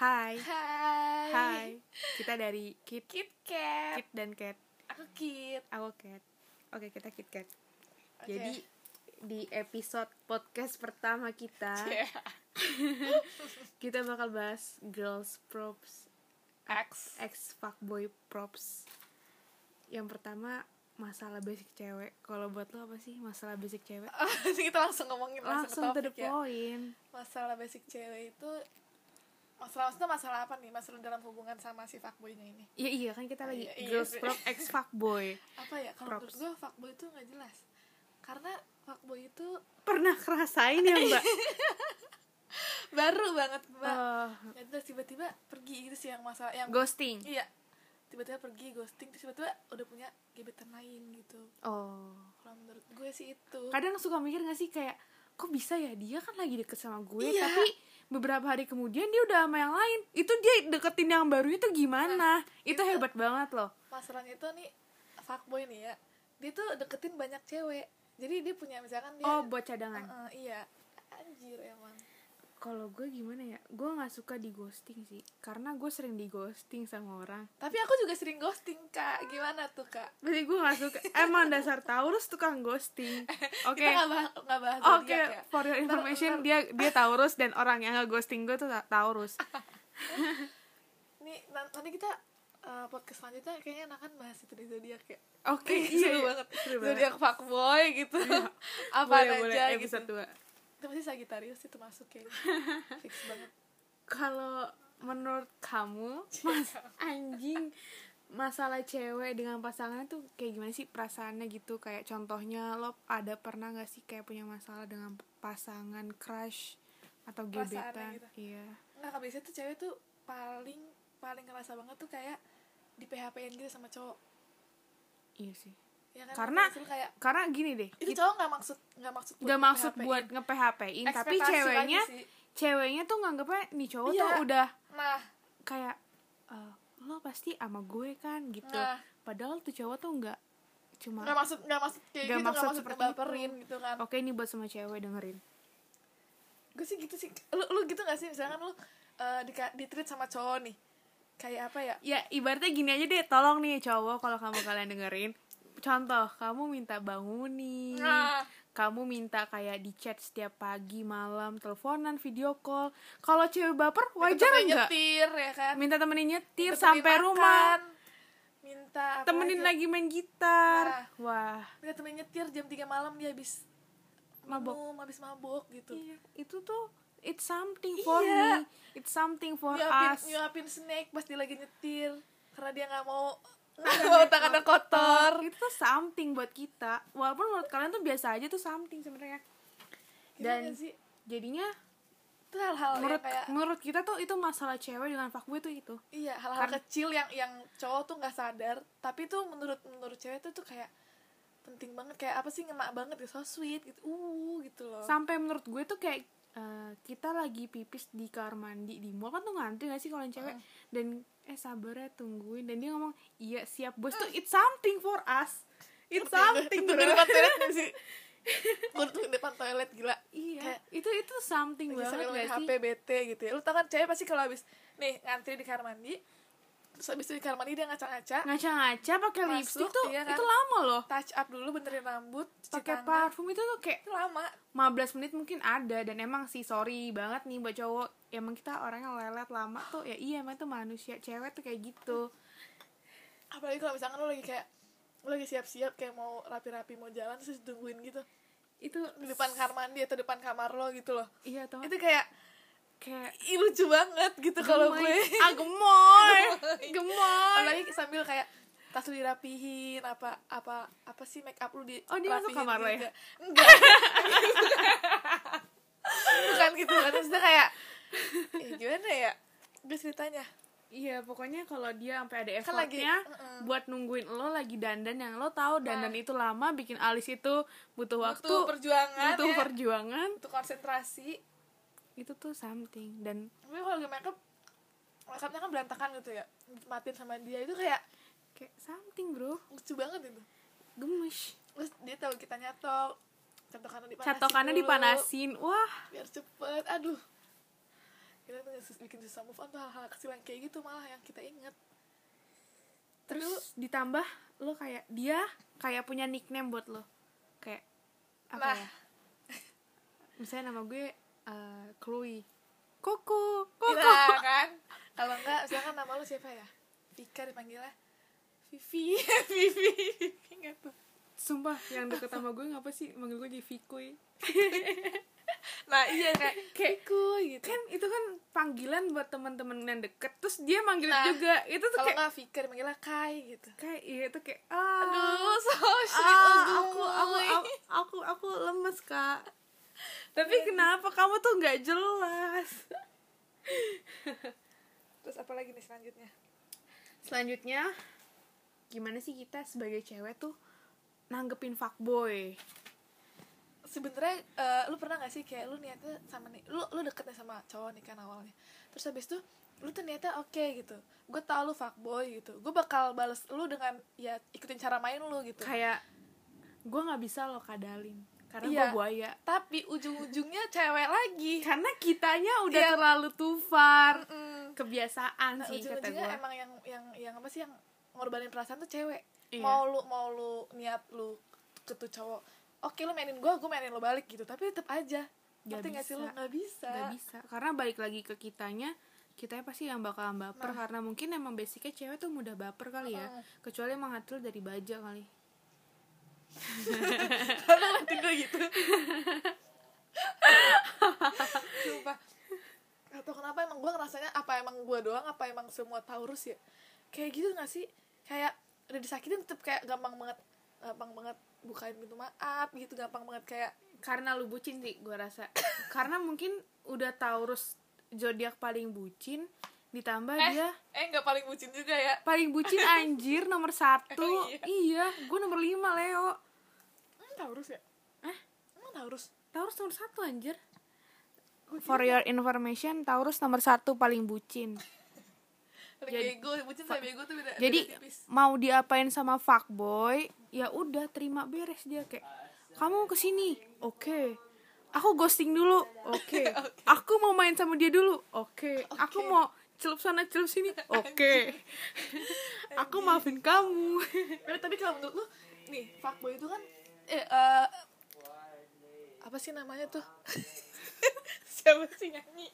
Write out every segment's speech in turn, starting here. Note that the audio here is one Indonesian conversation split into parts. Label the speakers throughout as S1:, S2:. S1: Hai.
S2: Hai.
S1: Kita dari Kit,
S2: Kit Kat.
S1: Kit dan Cat.
S2: Aku Kit.
S1: Aku Cat. Oke, kita Kit Cat.
S2: Oke.
S1: Jadi di episode podcast pertama kita,
S2: Yeah.
S1: kita bakal bahas girls props,
S2: X.
S1: ex fuckboy props. Yang pertama masalah basic cewek. Kalau buat lo apa sih masalah basic cewek?
S2: Oh, kita langsung ngomongin
S1: Langsung
S2: masalah
S1: to the
S2: topik ya.
S1: point.
S2: Masalah basic cewek itu masalah maksudnya masalah apa nih? Masalah dalam hubungan sama si fuckboy-nya ini.
S1: Iya iya kan kita lagi
S2: Iya, iya
S1: girls
S2: sih.
S1: prop ex fuckboy.
S2: Apa ya? Kalau menurut
S1: Props.
S2: gue fuckboy itu nggak jelas. Karena fuckboy itu
S1: Pernah ngerasain ya, Mbak?
S2: baru banget, Mbak.
S1: Eh,
S2: Ya, terus tiba-tiba pergi gitu sih yang masalah yang
S1: ghosting.
S2: iya. Tiba-tiba pergi ghosting terus tiba-tiba udah punya gebetan lain gitu.
S1: Oh.
S2: Kalau menurut gue sih itu.
S1: kadang suka mikir gak sih kayak kok bisa ya dia kan lagi deket sama gue
S2: Iya.
S1: tapi beberapa hari kemudian dia udah sama yang lain itu dia deketin yang baru itu gimana itu
S2: Nah, itu-
S1: hebat banget loh
S2: masalahnya itu nih fuckboy nih ya dia tuh deketin banyak cewek jadi dia punya misalkan dia
S1: oh buat cadangan
S2: Iya. Heeh, iya anjir emang
S1: kalau gue gimana ya gue nggak suka di ghosting sih karena gue sering di ghosting sama orang
S2: tapi aku juga sering ghosting kak gimana tuh kak
S1: berarti gue nggak suka emang dasar Taurus tukang ghosting oke
S2: kita nggak bahas nggak bahas
S1: oke
S2: zodiak ya
S1: for your information dia dia Taurus dan orang yang nggak ghosting gue tuh Ta- Taurus
S2: nih nan- nanti kita eh, podcast selanjutnya kayaknya enakan bahas itu di zodiak ya
S1: oke iya,
S2: seru banget zodiak fuckboy gitu apa
S1: boleh,
S2: aja
S1: boleh,
S2: gitu
S1: episode dua.
S2: itu pasti Sagittarius itu masuk kayaknya fix banget
S1: kalau menurut kamu mas anjing masalah cewek dengan pasangannya tuh kayak gimana sih perasaannya gitu kayak contohnya lo ada pernah nggak sih kayak punya masalah dengan pasangan crush atau
S2: Perasaannya
S1: gebetan
S2: gitu.
S1: iya
S2: nggak kak biasanya tuh cewek tuh paling paling ngerasa banget tuh kayak di PHP-in gitu sama cowok
S1: iya sih
S2: ya kan?
S1: Karena-
S2: Maksud kayak
S1: karena gini deh
S2: itu cowok nggak maksud nggak maksud
S1: gak maksud
S2: nge-PHP-in.
S1: buat nge PHP-in tapi
S2: ya? Ekspektasi lagi
S1: ceweknya
S2: sih.
S1: ceweknya tuh nganggepnya nih cowok
S2: Iya.
S1: tuh udah
S2: nah
S1: kayak "Eh, lo pasti ama gue kan gitu
S2: Nah.
S1: padahal tuh cowok tuh nggak cuma
S2: nggak maksud nggak maksud kayak
S1: Nggak
S2: gitu nggak
S1: maksud
S2: maksud
S1: seperti Oh.
S2: ngebaperin gitu kan
S1: Oke ini buat semua cewek dengerin
S2: gue sih gitu sih lu lu gitu nggak sih misalkan lu eh, di ditreat sama cowok nih kayak apa ya
S1: Ya ibaratnya gini aja deh Tolong nih cowok kalau kamu kalian dengerin Contoh kamu minta bangunin
S2: Nah.
S1: Kamu minta kayak di chat setiap pagi malam Teleponan video call Kalau cewek baper wajar
S2: temen
S1: nggak?
S2: nyetir ya kan
S1: Minta temenin nyetir
S2: Minta
S1: sampai
S2: temenin
S1: rumah
S2: makan. minta apa
S1: Temenin
S2: aja. Iya.
S1: lagi main gitar Wah
S2: minta temenin nyetir jam 3 malam dia habis
S1: Mabok.
S2: minum, habis mabok gitu
S1: iya, Itu tuh It's something for
S2: Iya. Ya,
S1: me It's something for
S2: nyuapin,
S1: us
S2: nyuapin snack pas dia lagi nyetir karena dia nggak mau nggak mau tangannya kotor
S1: itu tuh something buat kita walaupun menurut kalian tuh biasa aja tuh something sebenarnya
S2: dan
S1: dan
S2: sih
S1: jadinya
S2: itu hal-hal
S1: menurut
S2: yang Oh, iya, kayak
S1: menurut kita tuh itu masalah cewek dengan fuckboy tuh itu
S2: iya hal-hal
S1: Karena-
S2: kecil yang yang cowok tuh nggak sadar tapi tuh menurut menurut cewek tuh tuh kayak penting banget kayak apa sih ngemak banget gitu so sweet gitu uh gitu loh
S1: sampai menurut gue tuh kayak eh, kita lagi pipis di kamar mandi di mall kan tuh ngantri gak sih kalau yang
S2: Ah.
S1: cewek dan eh sabar ya tungguin dan dia ngomong iya siap bos
S2: Ah.
S1: tuh it's something for us it's something
S2: Itu
S1: bro.
S2: di depan toilet gak sih Gua tuh di depan toilet gila
S1: iya
S2: Kayak-
S1: itu itu something
S2: lagi sambil
S1: banget
S2: main
S1: gak
S2: HP
S1: sih
S2: bete gitu ya lu tau kan cewek pasti kalau habis nih ngantri di kamar mandi terus habis itu di kamar mandi dia ngaca-ngaca
S1: Nah. ngaca-ngaca pakai
S2: Masuk,
S1: lipstick tuh
S2: iya kan?
S1: itu lama loh
S2: touch up dulu benerin rambut cuci
S1: pakai
S2: tangan.
S1: parfum itu tuh kayak
S2: itu lama
S1: 15 menit mungkin ada dan emang sih sorry banget nih buat cowok Ya, emang kita orangnya lelet lama tuh ya iya emang tuh manusia cewek tuh kayak gitu
S2: apalagi kalau misalkan lo lagi kayak lo lagi siap-siap kayak mau rapi-rapi mau jalan terus tungguin gitu
S1: itu
S2: di depan kamar mandi atau depan kamar lo gitu loh
S1: iya tau
S2: itu kayak
S1: kayak
S2: ih, lucu banget gitu kalau
S1: gemoy.
S2: gue
S1: ah gemoy gemoy
S2: apalagi sambil kayak tas lu dirapihin apa apa apa sih make up lu di
S1: Oh, dia masuk
S2: rapihin
S1: kamar lo ya?
S2: juga. enggak bukan gitu kan maksudnya kayak ya gimana ya gue ceritanya
S1: iya pokoknya kalau dia sampai ada
S2: Kan lagi,
S1: effortnya
S2: mm-mm.
S1: buat nungguin lo lagi dandan yang lo tahu dandan itu lama bikin alis itu Nah. butuh iya. waktu
S2: butuh perjuangan
S1: butuh
S2: ya,
S1: perjuangan
S2: butuh konsentrasi
S1: itu tuh something dan
S2: tapi kalau gue makeup makeupnya kan berantakan gitu ya matiin sama dia itu kayak
S1: kayak something bro
S2: lucu banget itu
S1: gemes
S2: terus dia tahu kita nyatok catokannya dipanasin
S1: catokannya
S2: dulu,
S1: dipanasin wah
S2: biar cepet aduh kita tuh yang sus- bikin susah move on tuh hal-hal kecil yang kayak gitu malah yang kita inget
S1: terus ditambah lo kayak dia kayak punya nickname buat lo kayak apa
S2: Nah.
S1: ya misalnya nama gue eh, Chloe Koko Koko
S2: Iya kan kalau enggak misalkan nama lu siapa ya Vika dipanggilnya Vivi Vivi Vivi nggak tuh
S1: sumpah yang deket sama gue ngapa sih manggil gue jadi Vikuy
S2: nah iya kayak
S1: Kayak-
S2: Viku gitu
S1: kan itu kan panggilan buat teman-teman yang deket terus dia manggil
S2: Nah,
S1: juga itu tuh
S2: kalau
S1: kayak
S2: nggak Vika dipanggilnya Kai gitu
S1: kayak iya itu kayak ah,
S2: aduh oh, so sweet
S1: ah,
S2: aduh.
S1: aku, aku aku aku aku lemes kak tapi kenapa kamu tuh nggak jelas
S2: terus apa lagi nih selanjutnya
S1: selanjutnya gimana sih kita sebagai cewek tuh nanggepin fuckboy
S2: sebenarnya eh, lu pernah gak sih kayak lu niatnya sama nih lu lu deketnya sama cowok nih kan awalnya terus habis itu lu tuh niatnya oke gitu gue tau lu fuckboy gitu gue bakal bales lu dengan ya ikutin cara main lu gitu
S1: kayak gue nggak bisa lo kadalin karena
S2: Iya.
S1: gue buaya
S2: tapi ujung-ujungnya cewek lagi
S1: karena kitanya udah
S2: Iya.
S1: terlalu tufar
S2: Mm-mm.
S1: kebiasaan
S2: Nah,
S1: sih kata
S2: ujung-ujungnya
S1: gue
S2: emang yang yang yang apa sih yang ngorbanin perasaan tuh cewek
S1: Iya.
S2: mau lu mau lu niat lu ke tuh cowok oke lu mainin gue gue mainin lu balik gitu tapi tetep aja
S1: Nggak
S2: ngerti gak sih lu
S1: bisa.
S2: nggak bisa
S1: nggak bisa karena balik lagi ke kitanya kitanya pasti yang bakalan
S2: Nah.
S1: baper karena mungkin emang basicnya cewek tuh mudah baper kali ya
S2: Mm.
S1: kecuali emang hati lu dari baja kali
S2: hati gue gitu Sumpah Atau kenapa emang gue ngerasanya Apa emang gue doang Apa emang semua Taurus ya Kayak gitu gak sih Kayak udah disakitin tetep kayak gampang banget Gampang banget bukain pintu maaf gitu Gampang banget kayak
S1: karena lu bucin sih gue rasa karena mungkin udah Taurus zodiak paling bucin ditambah dia
S2: eh gak paling bucin juga ya
S1: paling bucin anjir nomor satu
S2: Emang
S1: iya,
S2: iya?
S1: gue nomor lima Leo
S2: Emang Taurus ya
S1: Hah?
S2: Emang Taurus
S1: Taurus nomor satu anjir for your information Taurus nomor satu paling bucin
S2: Paling
S1: Jadi-
S2: bego Bucin sama bego tuh beda
S1: jadi
S2: beda tipis.
S1: mau diapain sama fuckboy ya udah terima beres dia kayak kamu kesini oke aku ghosting dulu oke aku mau main sama dia dulu oke aku mau celup sana celup sini oke aku maafin kamu
S2: Tapi, Eh, tapi kalau menurut lu nih fuckboy itu kan eh, eh, apa sih namanya tuh? Siapa sih nyanyi?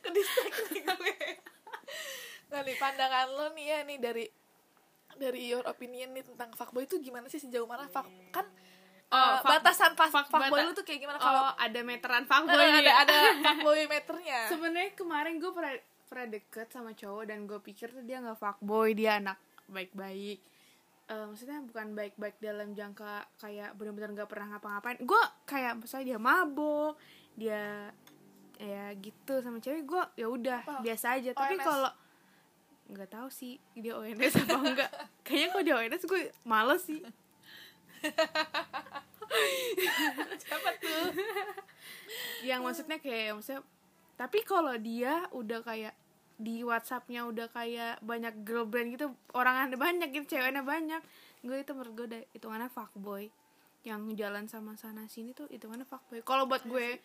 S2: Kedistek nih gue. Nah nih pandangan lo nih ya nih dari dari your opinion nih tentang fuckboy itu gimana sih sejauh mana fuck kan
S1: Oh,
S2: eh,
S1: fuck-
S2: batasan pas
S1: fuck-
S2: fuckboy
S1: bata-
S2: lu tuh kayak gimana
S1: kalau
S2: kalau
S1: ada meteran
S2: Eh,
S1: fuckboy nih
S2: ada
S1: ya.
S2: ada fuckboy meternya.
S1: sebenarnya kemarin gue pernah pernah deket sama cowok dan gue pikir tuh dia nggak fuckboy dia anak baik-baik Eh, maksudnya bukan baik-baik dalam jangka kayak benar-benar nggak pernah ngapa-ngapain gue kayak misalnya dia mabok dia ya gitu sama cewek gue ya udah
S2: Oh,
S1: biasa aja tapi
S2: ONS.
S1: kalau nggak tahu sih dia ONS apa enggak kayaknya kalau dia ONS gue males sih
S2: Siapa tuh?
S1: yang maksudnya kayak maksudnya tapi kalau dia udah kayak di WhatsAppnya udah kayak banyak girl brand gitu orang ada banyak gitu ceweknya banyak gue itu menurut gue deh, hitungannya fuckboy yang jalan sama sana sini tuh hitungannya fuckboy kalau buat gue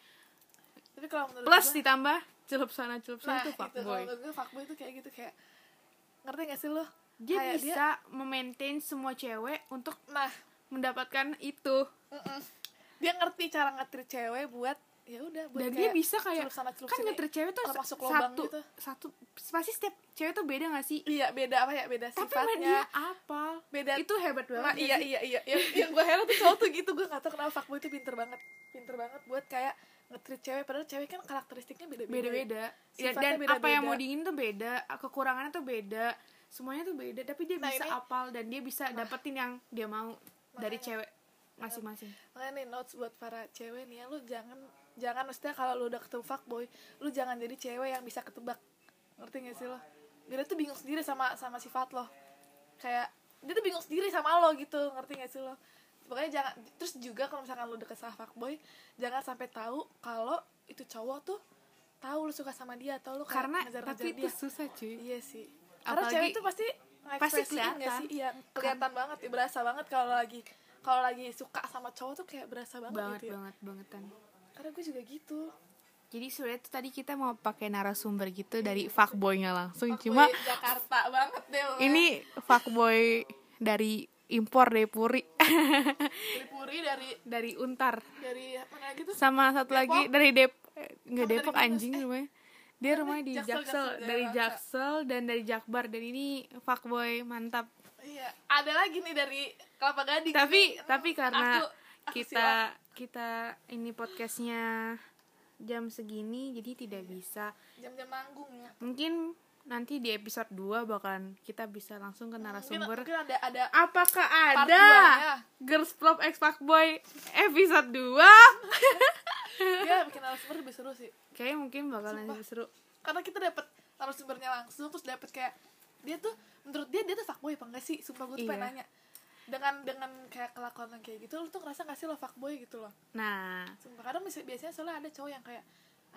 S2: Tapi kalau Iya menurut
S1: plus
S2: gua-
S1: ditambah celup sana celup
S2: nah,
S1: sana tuh
S2: itu, kalau
S1: fuckboy
S2: menurut gue fuckboy itu kayak gitu kayak ngerti gak sih lu?
S1: dia
S2: Kayak
S1: bisa memaintain semua cewek untuk
S2: nah
S1: mendapatkan itu
S2: Mm-mm. dia ngerti cara ngetir cewek buat ya udah
S1: dan
S2: buat
S1: dia
S2: kayak
S1: bisa kayak
S2: celup sana, celup
S1: kan
S2: sini.
S1: ngeter cewek tuh
S2: kalau
S1: sa-
S2: masuk lubang
S1: satu
S2: gitu.
S1: satu pasti setiap cewek tuh beda gak sih
S2: iya beda apa ya beda
S1: tapi sama
S2: sifatnya
S1: dia apa
S2: beda
S1: itu hebat banget
S2: Nah,
S1: gak
S2: iya
S1: sih?
S2: iya iya yang, yang gue heran tuh cowok tuh gitu gue gak tau kenapa fuckboy itu pinter banget pinter banget buat kayak ngetir cewek padahal cewek kan karakteristiknya beda beda
S1: beda-beda Ya,
S2: iya, Sifatnya
S1: dan apa yang
S2: beda-beda.
S1: mau diingin tuh beda kekurangannya tuh beda semuanya tuh beda tapi dia
S2: Nah,
S1: bisa
S2: ini-
S1: apal dan dia bisa dapetin yang dia mau dari
S2: Makanya.
S1: cewek masing-masing
S2: makanya nih notes buat para cewek nih ya lu jangan jangan maksudnya kalau lu udah ketemu fuckboy lu jangan jadi cewek yang bisa ketebak ngerti gak sih lo dia tuh bingung sendiri sama sama sifat lo kayak dia tuh bingung sendiri sama lo gitu ngerti gak sih lo pokoknya jangan terus juga kalau misalkan lu deket sama fuckboy jangan sampai tahu kalau itu cowok tuh tahu lu suka sama dia atau lu kayak
S1: karena
S2: ngejar-ngejar
S1: tapi itu
S2: dia.
S1: susah cuy
S2: Iya sih. Karena
S1: Apalagi-
S2: cewek tuh pasti
S1: Pasti
S2: ngekspresiin nggak
S1: kelihatan. kan?
S2: sih? Iya, kelihatan banget, ya, berasa banget kalau lagi kalau lagi suka sama cowok tuh kayak berasa banget,
S1: banget
S2: gitu. Ya.
S1: banget bangetan
S2: Karena gue juga gitu.
S1: Jadi sebenarnya tuh tadi kita mau pakai narasumber gitu dari fuckboynya langsung.
S2: Fuckboy
S1: Cuma
S2: Jakarta banget deh lu.
S1: ini fuckboy dari impor dari Puri,
S2: dari Puri dari
S1: dari Untar.
S2: dari mana lagi tuh
S1: Sama satu lagi dari Dep eh, nggak
S2: Sama dari
S1: Depok
S2: Brebes,
S1: anjing rumahnya. Dia rumahnya di Jaksel,
S2: Jaksel, Jaksel,
S1: dari
S2: daerah
S1: Jaksel dan dari Jakbar dan ini fuckboy mantap.
S2: iya ada lagi nih dari Kelapa Gading
S1: tapi
S2: Ini,
S1: tapi karena
S2: aku, aku silau.
S1: kita kita ini podcastnya jam segini jadi tidak bisa
S2: jam-jam manggung ya
S1: mungkin nanti di episode 2 bahkan kita bisa langsung ke narasumber
S2: mungkin, mungkin ada ada
S1: apakah
S2: Part ya.
S1: ada
S2: duanya.
S1: girls club ex fuckboy episode 2
S2: dia bikin narasumber lebih seru sih
S1: kayaknya mungkin bakal nanti seru
S2: karena kita dapat narasumbernya langsung terus dapat kayak dia tuh menurut dia dia tuh fuckboy apa enggak sih sumpah gue tuh pengen
S1: Iya.
S2: nanya dengan dengan kayak kelakuan yang kayak gitu lu tuh ngerasa gak sih lo fuckboy gitu loh
S1: nah
S2: sumpah kadang bisa- biasanya soalnya ada cowok yang kayak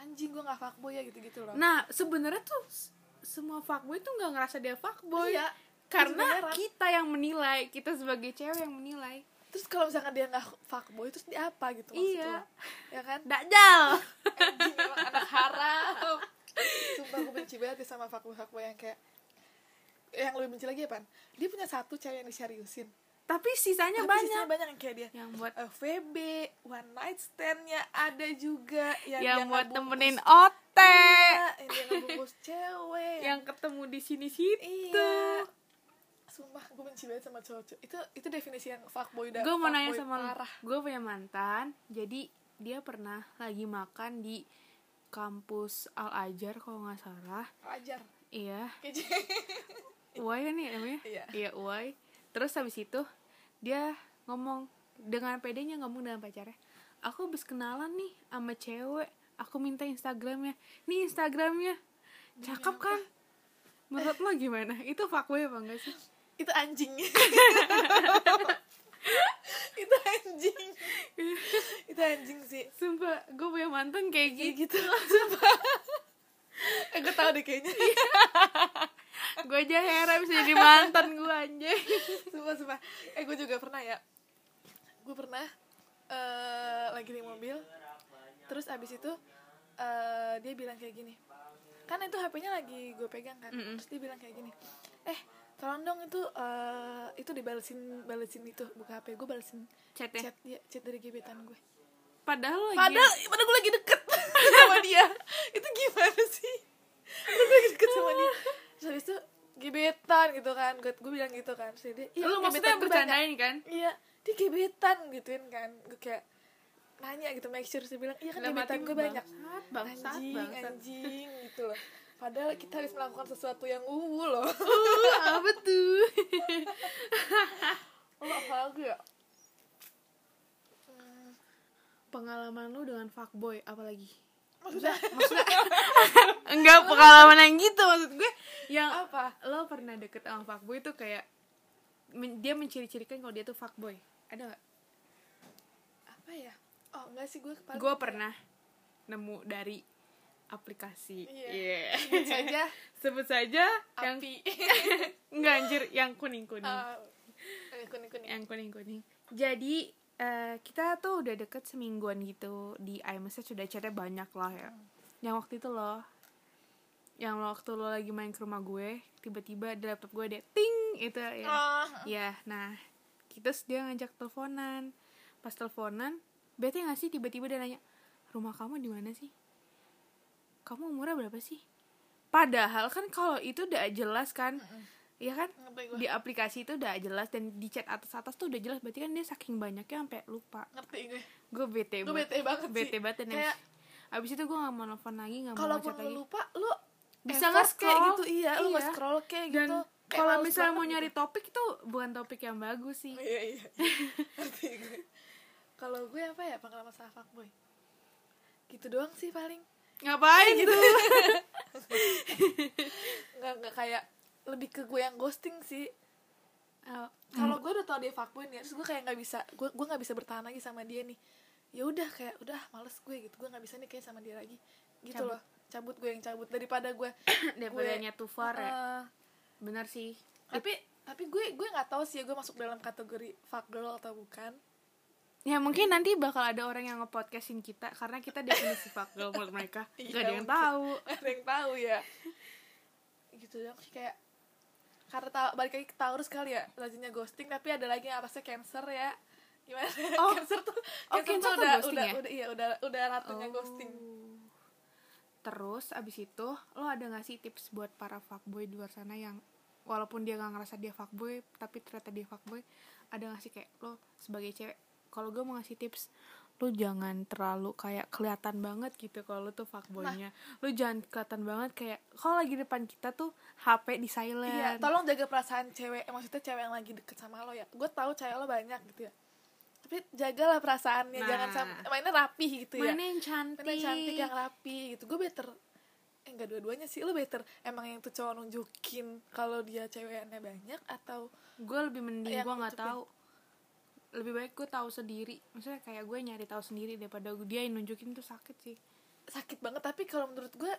S2: anjing gue gak fuckboy ya gitu gitu loh
S1: nah sebenarnya tuh s- semua fuckboy tuh nggak ngerasa dia fuckboy
S2: Iya.
S1: karena
S2: Sebenarnya.
S1: kita yang menilai kita sebagai cewek yang menilai
S2: terus kalau misalkan dia gak fuckboy terus dia apa gitu maksud
S1: Iya.
S2: lo? ya kan
S1: Dajjal
S2: anjing emang anak haram sumpah gue benci banget ya sama fuckboy fuckboy yang kayak yang lebih benci lagi apa dia punya satu cewek yang diseriusin
S1: tapi sisanya Iya,
S2: Tapi
S1: banyak
S2: sisanya banyak yang kayak dia
S1: yang buat
S2: Eh, VB, one night standnya ada juga yang, Iya.
S1: yang
S2: dia
S1: buat
S2: ngebungkus
S1: temenin OT
S2: cewek, yang dia ngebungkus cewek
S1: yang ketemu di sini situ
S2: iya sumpah gue benci banget sama cowok itu itu definisi yang fuckboy dan
S1: gue mau nanya
S2: Iya, fuckboy
S1: sama lu
S2: parah.
S1: gue punya mantan jadi dia pernah lagi makan di kampus Al Azhar kalau nggak salah
S2: ajar
S1: iya
S2: keje
S1: Uwai kan ya namanya
S2: Iya.
S1: iya Uwai terus habis itu dia ngomong dengan pedenya ngomong dengan pacarnya aku habis kenalan nih sama cewek aku minta Instagramnya nih Instagramnya cakep kan menurut lo gimana itu fuckboy apa enggak sih
S2: itu anjing itu anjing itu anjing sih
S1: sumpah gue punya mantan kayak
S2: kayak
S1: gitu
S2: gitu sumpah eh, gue tau deh kayaknya
S1: gue aja heran bisa jadi mantan gue anjay
S2: sumpah sumpah eh gue juga pernah ya gue pernah eh lagi di mobil terus abis itu eh dia bilang kayak gini kan itu HP-nya lagi gue pegang kan
S1: Mm-mm.
S2: terus dia bilang kayak gini eh tolong dong itu eh itu dibalesin balesin itu buka HP gue balesin
S1: chatnya
S2: chat dia chat dari gebetan gue
S1: ya. padahal lagi ya?
S2: padahal padahal gue lagi deket sama dia itu gimana sih padahal gue lagi deket sama dia terus habis itu gebetan gitu kan gue gue bilang gitu kan terus dia "Iya,
S1: lu maksudnya
S2: gebetan gue banyak."
S1: bercandain kan
S2: iya dia gebetan gituin kan gue kayak nanya gitu make sure dia bilang iya kan
S1: Dalam
S2: gebetan
S1: hati
S2: gue banyak
S1: bangsat bangsat
S2: anjing
S1: bangsat
S2: anjing gitu loh padahal kita harus melakukan sesuatu yang uwu loh
S1: Uh, apa tuh
S2: lo apa lagi ya
S1: pengalaman lu dengan fuckboy apalagi
S2: maksudnya
S1: enggak pengalaman yang gitu maksud gue yang
S2: apa
S1: lo pernah deket sama fuckboy itu kayak men- dia menciri-cirikan kalau dia tuh fuckboy ada nggak
S2: apa ya oh enggak sih gue kepala
S1: gue pernah nemu dari aplikasi
S2: Iya.
S1: Iya.
S2: Sebut saja
S1: sebut saja yang Hmm.
S2: api
S1: enggak anjir yang kuning kuning
S2: Ah, eh, kuning-kuning
S1: yang kuning kuning jadi eh, kita tuh udah deket semingguan gitu di iMessage sudah chatnya banyak lah ya yang waktu itu loh yang waktu lo lagi main ke rumah gue tiba-tiba di laptop gue ada ting itu ya
S2: Ah,
S1: ya nah kita terus dia ngajak teleponan pas teleponan bete nggak sih tiba-tiba dia nanya rumah kamu di mana sih kamu umurnya berapa sih padahal kan kalau itu udah jelas kan Iya kan
S2: ngerti gue
S1: di aplikasi itu udah jelas dan di chat atas atas tuh udah jelas berarti kan dia saking banyaknya sampai lupa
S2: ngerti gue
S1: gue bete
S2: gue
S1: banget
S2: bete banget
S1: bete
S2: sih
S1: banget dan
S2: Kayak-
S1: abis- abis itu gue gak mau nelfon lagi gak mau
S2: kalaupun
S1: chat
S2: lu
S1: lagi
S2: lupa lu
S1: Bisa
S2: effort kayak
S1: nge-scroll.
S2: gitu iya, lu
S1: Iya.
S2: nggak scroll kayak
S1: dan
S2: gitu Kayak
S1: kalau
S2: males
S1: misalnya
S2: banget
S1: mau
S2: gitu.
S1: nyari topik tuh bukan topik yang bagus sih
S2: iya iya ngerti gue kalau gue apa ya pengalaman sama fuckboy gitu doang sih paling
S1: ngapain gitu
S2: nggak nggak kayak lebih ke gue yang ghosting sih
S1: Oh,
S2: kalau gue udah tau dia fuckboy nih terus gue kayak nggak bisa gue gue nggak bisa bertahan lagi sama dia nih ya udah kayak udah males gue gitu gue nggak bisa nih kayak sama dia lagi gitu
S1: Cabut.
S2: loh cabut gue yang cabut daripada gue
S1: daripada
S2: Gue-
S1: nyatu far ya
S2: eh,
S1: bener sih
S2: tapi tapi gue gue nggak tahu sih ya gue masuk dalam kategori fuck girl atau bukan
S1: ya mungkin nanti bakal ada orang yang nge-podcastin kita karena kita definisi fuck girl menurut mereka gak
S2: Iya,
S1: ada yang
S2: mungkin.
S1: tahu
S2: Nggak ada yang tahu ya gitu dong sih kayak karena ta- balik lagi ke Taurus kali ya lazimnya ghosting tapi ada lagi yang atasnya cancer ya gimana
S1: Oh.
S2: cancer tuh
S1: Oh,
S2: cancer,
S1: Cancer
S2: tuh
S1: tuh
S2: udah
S1: ghosting
S2: udah,
S1: ya?
S2: udah iya udah udah ratunya
S1: Oh.
S2: ghosting
S1: terus abis itu lo ada gak sih tips buat para fuckboy di luar sana yang walaupun dia gak ngerasa dia fuckboy tapi ternyata dia fuckboy ada gak sih kayak lo sebagai cewek kalau gue mau ngasih tips lo jangan terlalu kayak kelihatan banget gitu kalau lo tuh fuckboynya
S2: Nah.
S1: lo jangan kelihatan banget kayak kalau lagi depan kita tuh HP di silent
S2: iya tolong jaga perasaan cewek eh, maksudnya cewek yang lagi deket sama lo ya gue tahu cewek lo banyak gitu ya tapi jagalah perasaannya
S1: Nah.
S2: jangan sam- mainnya rapi gitu ya
S1: mana yang cantik
S2: Karena yang cantik yang rapi gitu gue better eh nggak dua-duanya sih lo better emang yang tuh cowok nunjukin kalau dia cewekannya banyak atau
S1: gue lebih mending
S2: Yang
S1: gue nggak
S2: nutupin.
S1: tahu lebih baik gue tahu sendiri maksudnya kayak gue nyari tahu sendiri daripada gua- dia yang nunjukin tuh sakit sih
S2: sakit banget tapi kalau menurut gue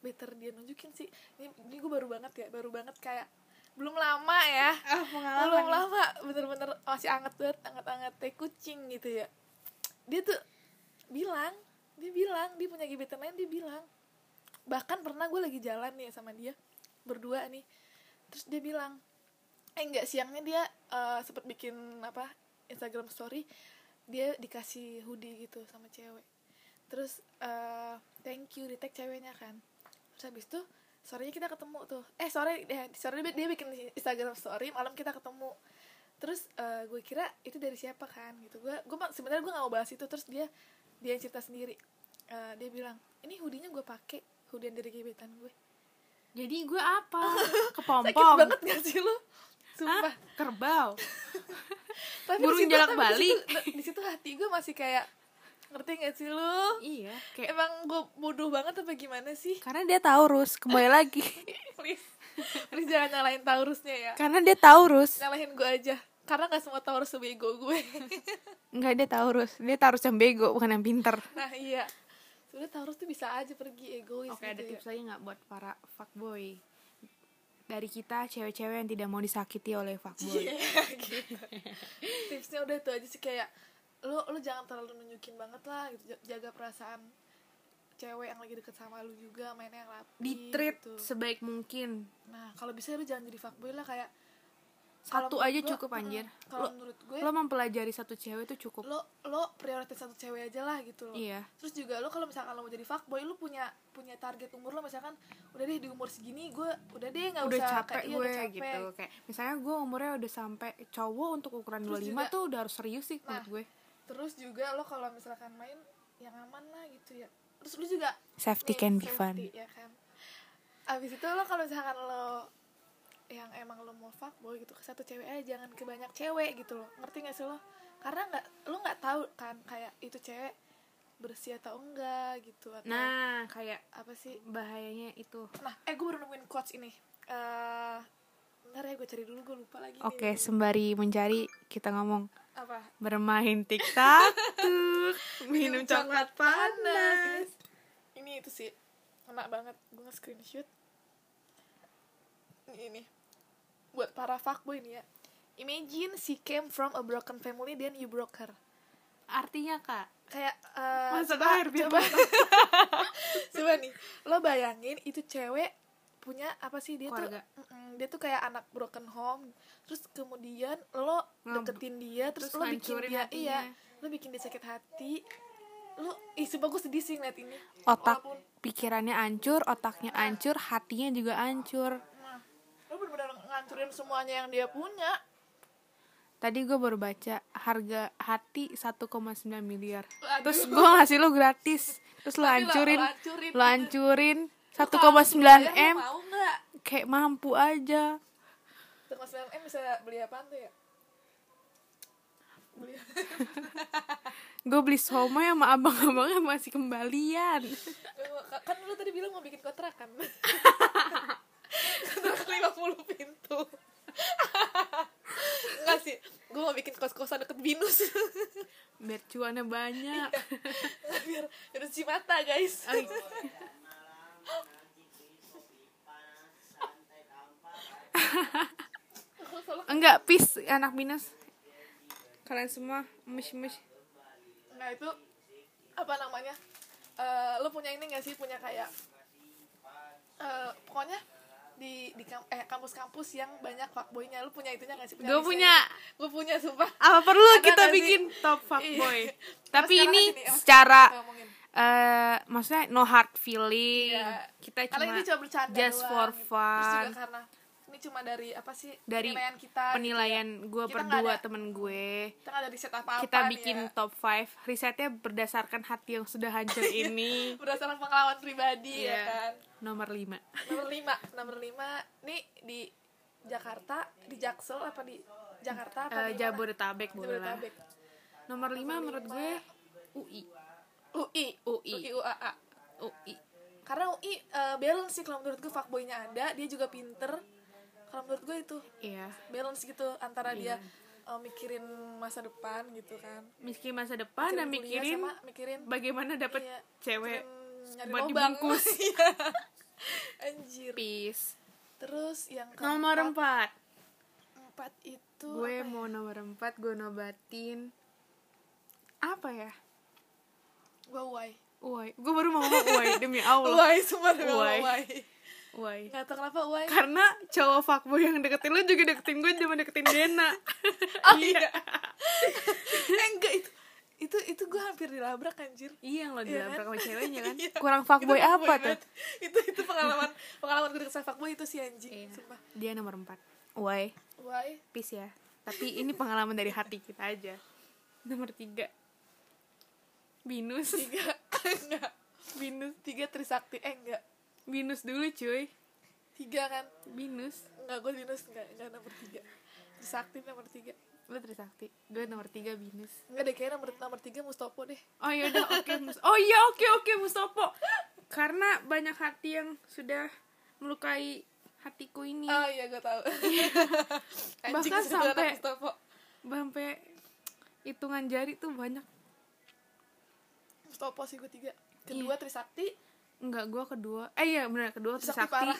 S2: better dia nunjukin sih ini, ini gue baru banget ya baru banget kayak belum lama ya
S1: ah
S2: belum lama bener-bener masih anget banget anget-anget teh kucing gitu ya dia tuh bilang dia bilang dia punya gebetan lain dia bilang bahkan pernah gue lagi jalan nih sama dia berdua nih terus dia bilang eh enggak siangnya dia eh, sempet bikin apa Instagram story dia dikasih hoodie gitu sama cewek terus eh, thank you di tag ceweknya kan terus habis itu sorenya kita ketemu tuh eh sore eh, sore dia, dia bikin Instagram story malam kita ketemu terus eh, gue kira itu dari siapa kan gitu gue gue mah- sebenarnya gue nggak mau bahas itu terus dia dia yang cerita sendiri Eh, dia bilang ini hoodie-nya gue pakai hoodie dari gebetan gue
S1: jadi gue apa kepompong
S2: sakit banget gak sih lu
S1: Hah?
S2: sumpah
S1: kerbau
S2: tapi
S1: Burung
S2: di situ-
S1: jalak
S2: tapi di situ-
S1: balik.
S2: di situ hati gue masih kayak ngerti gak sih lu
S1: iya kayak
S2: emang gue bodoh banget apa gimana sih
S1: karena dia Taurus kembali lagi
S2: please please jangan nyalain Taurusnya ya
S1: karena dia Taurus
S2: nyalahin gue aja karena nggak semua Taurus sebego gue
S1: nggak dia Taurus dia Taurus yang bego bukan yang pinter
S2: nah iya sebenarnya Taurus tuh bisa aja pergi egois
S1: oke
S2: gitu
S1: ada
S2: ya.
S1: tips lagi nggak buat para fuckboy dari kita cewek-cewek yang tidak mau disakiti oleh fuckboy
S2: Iya, gitu. tipsnya udah itu aja sih kayak lu lu jangan terlalu nunjukin banget lah gitu Ja- jaga perasaan cewek yang lagi deket sama lu juga mainnya yang rapi
S1: di treat
S2: gitu.
S1: sebaik mungkin
S2: nah kalau bisa lu jangan jadi fuckboy lah kayak kalau
S1: satu
S2: menurut
S1: aja
S2: gua-
S1: cukup
S2: Mm-mm.
S1: anjir
S2: kalau
S1: Lo-
S2: menurut gue
S1: lo mempelajari satu cewek itu cukup
S2: lo lo prioritas satu cewek aja lah gitu loh
S1: iya
S2: terus juga lo kalau misalkan lo mau jadi fuckboy lo punya punya target umur lo misalkan udah deh di umur segini gue udah deh nggak
S1: udah
S2: usah
S1: capek
S2: kayak- iya,
S1: gue
S2: udah capek.
S1: gitu kayak misalnya gue umurnya udah sampai cowok untuk ukuran
S2: Terus
S1: 25
S2: juga-
S1: tuh udah harus serius sih menurut
S2: Nah,
S1: gue
S2: terus juga lo kalau misalkan main yang aman lah gitu ya terus lo juga
S1: safety
S2: nih,
S1: can be fun
S2: safety, ya kan abis itu lo kalau misalkan lo yang emang lo mau fuckboy gitu ke satu cewek aja jangan ke banyak cewek gitu lo ngerti gak sih lo karena nggak lo nggak tahu kan kayak itu cewek bersih atau enggak gitu atau
S1: nah kayak
S2: apa sih
S1: bahayanya itu
S2: Nah, eh gue baru nemuin quotes ini. Eh ntar ya gue cari dulu, gue lupa lagi. nih.
S1: oke sembari mencari kita ngomong
S2: Apa?
S1: bermain tiktok minum coklat panas
S2: Ini itu sih. Enak banget. Gue nge-screenshot. Ini, ini. Buat para fuckboy ini ya. Imagine she came from a broken family then you broke her.
S1: artinya kak
S2: Kayak eh,
S1: Masa
S2: coba-
S1: air biar
S2: coba, coba nih. Lo bayangin itu cewek punya apa sih dia
S1: Keluarga.
S2: tuh mm-mm, dia tuh kayak anak broken home terus kemudian lo
S1: Ngab-
S2: deketin dia terus,
S1: terus
S2: lo bikin
S1: ngancurin
S2: dia
S1: hatinya.
S2: iya lo bikin dia sakit hati lo ih sumpah gue sedih sih ngeliat ini
S1: otak
S2: Walaupun-
S1: pikirannya hancur otaknya hancur hatinya juga hancur
S2: nah, lo bener-bener ngancurin semuanya yang dia punya
S1: Tadi gue baru baca harga hati 1,9 miliar.
S2: Waduh.
S1: Terus gue ngasih lo gratis. Terus lo
S2: Tapi lo-
S1: hancurin,
S2: lo
S1: lo
S2: hancurin gitu.
S1: hancurin
S2: Lo
S1: 1,9 m.
S2: kalau mau nggak
S1: Kayak mampu aja.
S2: 1,9 m bisa beli apaan tuh ya beli
S1: Gue beli somai sama abang-abangnya masih kembalian.
S2: kan lu tadi bilang mau bikin kontrakan kontrak 50 pintu Enggak sih, gue mau bikin kos-kosan deket Binus
S1: Biar cuannya banyak.
S2: Iya. Biar harus mata guys
S1: Ay,
S2: Kalau salah
S1: enggak, peace anak minus. Kalian semua, mish-mish.
S2: nah itu apa namanya Eh lo punya ini gak sih punya kayak eh pokoknya di di kam- eh, kampus-kampus yang banyak fuckboynya lu punya itunya gak sih
S1: Gua punya.
S2: gue punya sumpah
S1: apa perlu
S2: Ada
S1: kita
S2: nggak sih?
S1: bikin top fuckboy
S2: Iya.
S1: tapi ini
S2: Sekarang aja nih, emang
S1: secara
S2: ngomongin.
S1: eh maksudnya no hard feeling
S2: Iya.
S1: kita
S2: karena
S1: cuma,
S2: ini cuma bercanda
S1: just
S2: doang,
S1: for
S2: gitu. terus
S1: fun
S2: juga karena ini cuma dari apa sih
S1: dari
S2: penilaian kita
S1: penilaian gue
S2: Iya. Kita
S1: per
S2: nggak
S1: dua
S2: ada- iya.
S1: temen gue
S2: kita nggak ada riset ya kan? apa apa
S1: kita bikin top 5 risetnya berdasarkan hati yang sudah hancur ini
S2: berdasarkan pengalaman
S1: Iya.
S2: pribadi ya kan
S1: nomor 5
S2: nomor lima nomor lima nih di Jakarta di Jaksel apa di Jakarta apa di mana?
S1: Eh, Jabodetabek boleh lah
S2: Jabodetabek
S1: nomor 5 menurut gue UI
S2: UI
S1: UI.
S2: UI UAA
S1: UI
S2: karena UI eh, balance sih kalau menurut gue fuckboynya ada dia juga pinter kalau menurut gue itu
S1: iya
S2: balance gitu antara dia eh, mikirin masa depan gitu kan
S1: miskin masa depan dan
S2: kuliah
S1: mikirin
S2: sama mikirin
S1: bagaimana dapet
S2: Iya,
S1: cewek
S2: mikirin nyari
S1: buat
S2: lobang.
S1: dibungkus.
S2: Iya. anjir
S1: peace
S2: terus yang keempat,
S1: nomor 4
S2: empat itu
S1: gue
S2: apa ya?
S1: mau nomor 4 gue nobatin apa ya
S2: gue why
S1: Uai, gue baru mau ngomong uai demi Allah.
S2: why semua gue
S1: Why.
S2: why
S1: Uai.
S2: nggak tau kenapa why
S1: Karena cowok fuckboy yang deketin lu juga deketin gue cuma deketin Dena.
S2: oh iya eh, enggak itu itu itu gue hampir dilabrak anjir
S1: iya yang lo
S2: Iya
S1: dilabrak sama ceweknya kan.
S2: Iya.
S1: Kurang
S2: Itu
S1: fuckboy apa
S2: banget.
S1: tuh?
S2: itu itu pengalaman pengalaman gue deket sama fuckboy itu sih anjing
S1: Iya.
S2: sumpah
S1: Dia nomor 4. Uai,
S2: why
S1: peace ya. Tapi ini pengalaman dari hati kita aja. Nomor 3. Binus.
S2: tiga enggak
S1: Binus.
S2: tiga trisakti eh enggak
S1: Binus dulu cuy.
S2: tiga kan
S1: Binus.
S2: enggak gue minus enggak enggak nomor tiga trisakti nomor tiga
S1: Lu Trisakti. Gue nomor 3 Binus.
S2: enggak deh kayaknya nomor nomor tiga Mustopo deh
S1: Oh iya udah oke Mus- Oh iya oke oke Mustopo. Karena banyak hati yang sudah melukai hatiku ini.
S2: oh iya gue tahu anjing
S1: Bahkan
S2: sih itu anak
S1: sampai-
S2: Mustopo
S1: Sampai hitungan jari tuh banyak.
S2: Mustopo sih gue tiga kedua
S1: Iya.
S2: trisakti
S1: Enggak, gua kedua. Eh iya benar kedua
S2: Trisakti
S1: Trisakti.
S2: parah.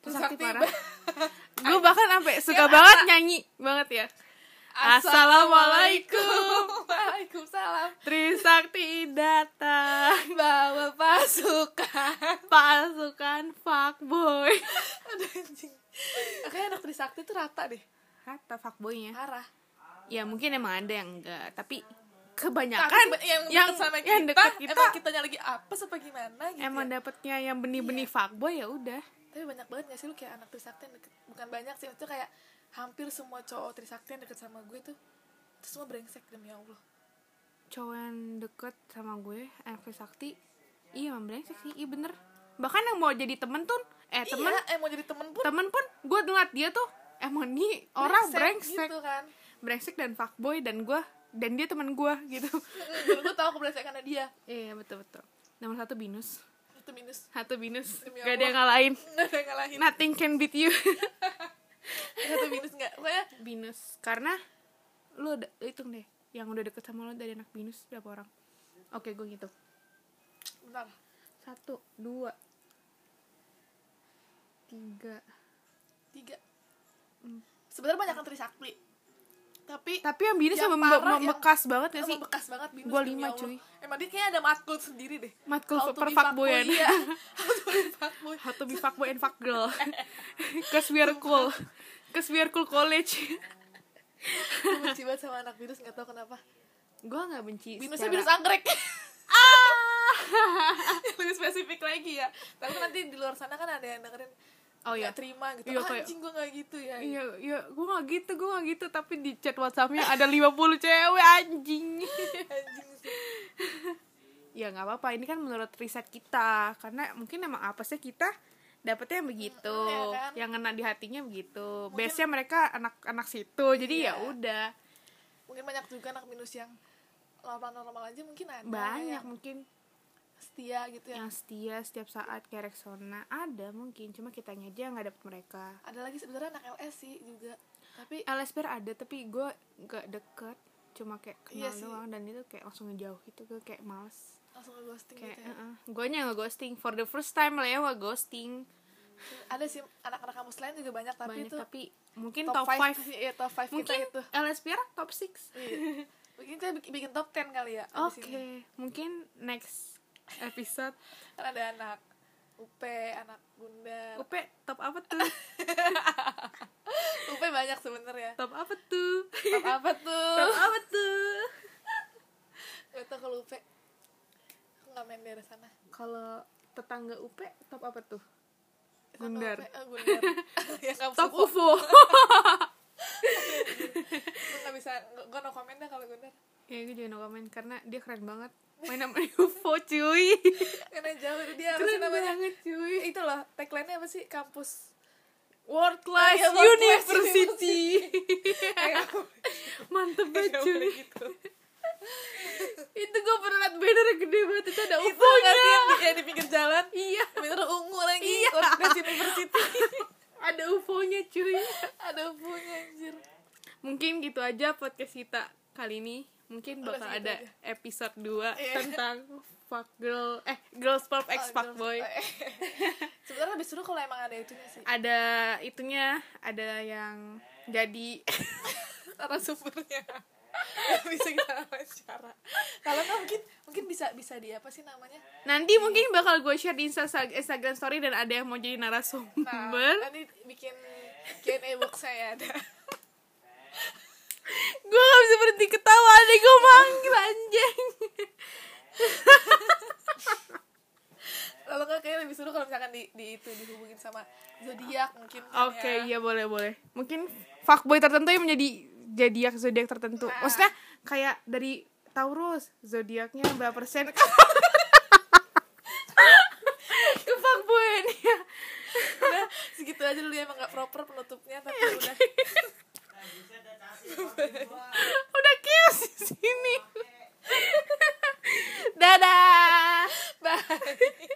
S1: Trisakti
S2: Trisakti
S1: parah. gue bahkan sampai suka
S2: Iya.
S1: banget nyanyi banget ya. Assalamualaikum.
S2: Waalaikumsalam
S1: Trisakti datang
S2: bawa pasukan
S1: pasukan fuckboy.
S2: aduh anjing kayaknya anak trisakti tuh rata deh
S1: Kata fuckboynya.
S2: parah
S1: Ya mungkin emang ada yang enggak, tapi kebanyakan
S2: Tapi yang,
S1: Ya kan? yang
S2: deket sama kita,
S1: yang deket kita
S2: emang kitanya lagi apa apa gimana gitu
S1: emang
S2: ya.
S1: dapetnya yang benih-benih fuckboy ya udah
S2: tapi banyak banget gak sih lu kayak anak trisakti yang deket bukan banyak sih itu kayak hampir semua cowok trisakti yang deket sama gue tuh itu semua brengsek demi allah
S1: cowok yang deket sama gue anak sakti iya emang brengsek sih iya bener bahkan yang mau jadi temen tuh eh temen
S2: iya, eh mau jadi temen pun
S1: temen pun gue ngeliat dia tuh emang nih orang brengsek
S2: gitu kan
S1: brengsek dan fuckboy dan gue dan dia temen gue gitu
S2: dan gue tau kebrengsekannya dia
S1: iya betul betul nomor satu binus
S2: itu minus
S1: satu binus
S2: Demi
S1: gak ada
S2: Allah.
S1: yang ngalahin
S2: nggak ada yang ngalahin
S1: nothing can beat you
S2: itu minus nggak pokoknya
S1: binus karena lu ada- lu hitung deh yang udah deket sama lo dari anak binus berapa orang oke gue ngitung
S2: bentar
S1: satu dua tiga
S2: tiga sebenarnya banyak yang trisakti tapi
S1: tapi yang binus
S2: Yang
S1: sama
S2: parah, yang-
S1: membekas banget ya sih
S2: emang bekas banget binus
S1: Gua
S2: demi
S1: lima,
S2: Allah.
S1: cuy.
S2: emang dia kayak ada matkul sendiri deh
S1: matkul
S2: How to
S1: super ya.
S2: be
S1: fuckboyan
S2: fuckboy, iya. How to be fuckboy.
S1: how to be fuckboy and fuck girl cause we are cool cause we are cool college
S2: Gue benci banget sama anak binus nggak tau kenapa
S1: gue nggak benci
S2: binusnya
S1: secara-
S2: binus anggrek
S1: ah
S2: lebih spesifik lagi ya tapi nanti di luar sana kan ada yang dengerin
S1: oh ya
S2: nggak terima gitu
S1: Iya,
S2: "Ah,
S1: kayak-
S2: anjing gue nggak gitu ya
S1: Iya, iya, gue gak gitu, gue gak gitu Tapi di chat whatsappnya ada 50 cewek anjing
S2: anjing sih.
S1: ya nggak apa-apa ini kan menurut riset kita karena mungkin emang apa sih kita dapetnya yang begitu
S2: Mm, iya kan?
S1: yang ngena di hatinya begitu
S2: Mungkin-
S1: base nya mereka anak-anak situ jadi ya
S2: Iya.
S1: udah
S2: mungkin banyak juga anak binus yang normal-normal aja mungkin ada
S1: banyak
S2: yang
S1: mungkin
S2: setia gitu ya
S1: yang Iya, setia setiap saat kayak Rexona ada mungkin cuma kitanya aja yang nggak dapet mereka
S2: ada lagi sebenarnya anak LS sih juga tapi
S1: LSPR ada tapi gue nggak deket cuma kayak kenal
S2: Iya sih.
S1: doang dan itu kayak langsung ngejauh gitu gue kayak males
S2: langsung ghosting
S1: kayak eh,
S2: gitu ya.
S1: gue nggak ghosting for the first time lewa ghosting
S2: ada sih anak-anak kampus lain juga banyak
S1: eh.
S2: tapi
S1: banyak
S2: itu
S1: tapi mungkin top
S2: top 5
S1: 5
S2: iya top 5
S1: mungkin
S2: kita itu
S1: LSPR top 6
S2: Iya. Mungkin kita bikin, bikin top 10 kali ya. abis
S1: Oke,
S2: ini.
S1: mungkin next episode
S2: Kan ada anak UP, anak Bundar.
S1: UP top apa tuh?
S2: UP banyak sebenarnya.
S1: Top apa tuh?
S2: Top apa tuh?
S1: Top apa tuh?
S2: Gak tau kalau UP. Aku gak main daerah sana.
S1: Kalau tetangga UP top apa tuh?
S2: Sama
S1: Bundar.
S2: UP, eh, Bundar. ya kampus
S1: Top
S2: UP.
S1: UFO.
S2: Gue gak bisa, gue no comment dah kalau Bundar.
S1: ya gue juga no comment karena dia keren banget. Main sama UFO cuy.
S2: Karena jauh dari Kan dia, apa sih
S1: keren
S2: namanya?
S1: banget cuy.
S2: Itu loh, tagline-nya apa sih? Kampus
S1: World class
S2: Iya, world class
S1: university. Mantep banget cuy.
S2: gitu.
S1: Itu gue pernah liat banner gede banget itu ada
S2: Itu
S1: UFO-nya.
S2: nggak sih yang di, yang di pinggir jalan?
S1: Iya,
S2: Bener ungu lagi,
S1: Iya.
S2: World Class University.
S1: ada UFO-nya cuy.
S2: Ada punya anjir.
S1: mungkin gitu aja podcast kita kali ini mungkin bakal
S2: Udah segitu
S1: ada
S2: aja.
S1: episode 2
S2: Iya.
S1: tentang fuck girl eh girls pop
S2: Oh,
S1: ex fuck boy
S2: girls- Sebenarnya lebih seru kalau emang ada itunya sih.
S1: ada itunya ada yang jadi
S2: narasumbernya Nggak bisa kita wawancara kalau nggak mungkin mungkin bisa bisa di apa sih namanya
S1: nanti mungkin bakal gue share di Insta- Instagram story dan ada yang mau jadi
S2: nah
S1: narasumber
S2: nanti bikin Q&A box saya ada
S1: gue gak bisa berhenti ketawa deh gue manggil anjing
S2: kalau nggak kayaknya lebih seru kalau misalkan di, di itu dihubungin sama zodiak mungkin kan
S1: oke
S2: ya.
S1: iya boleh boleh mungkin fuckboy tertentu yang menjadi zodiak zodiak tertentu
S2: Nah.
S1: maksudnya kayak dari Taurus zodiaknya berapa persen ke fuckboy ini ya.
S2: udah segitu aja dulu ya emang nggak proper penutupnya tapi udah
S1: udah kios di sini dadah
S2: bye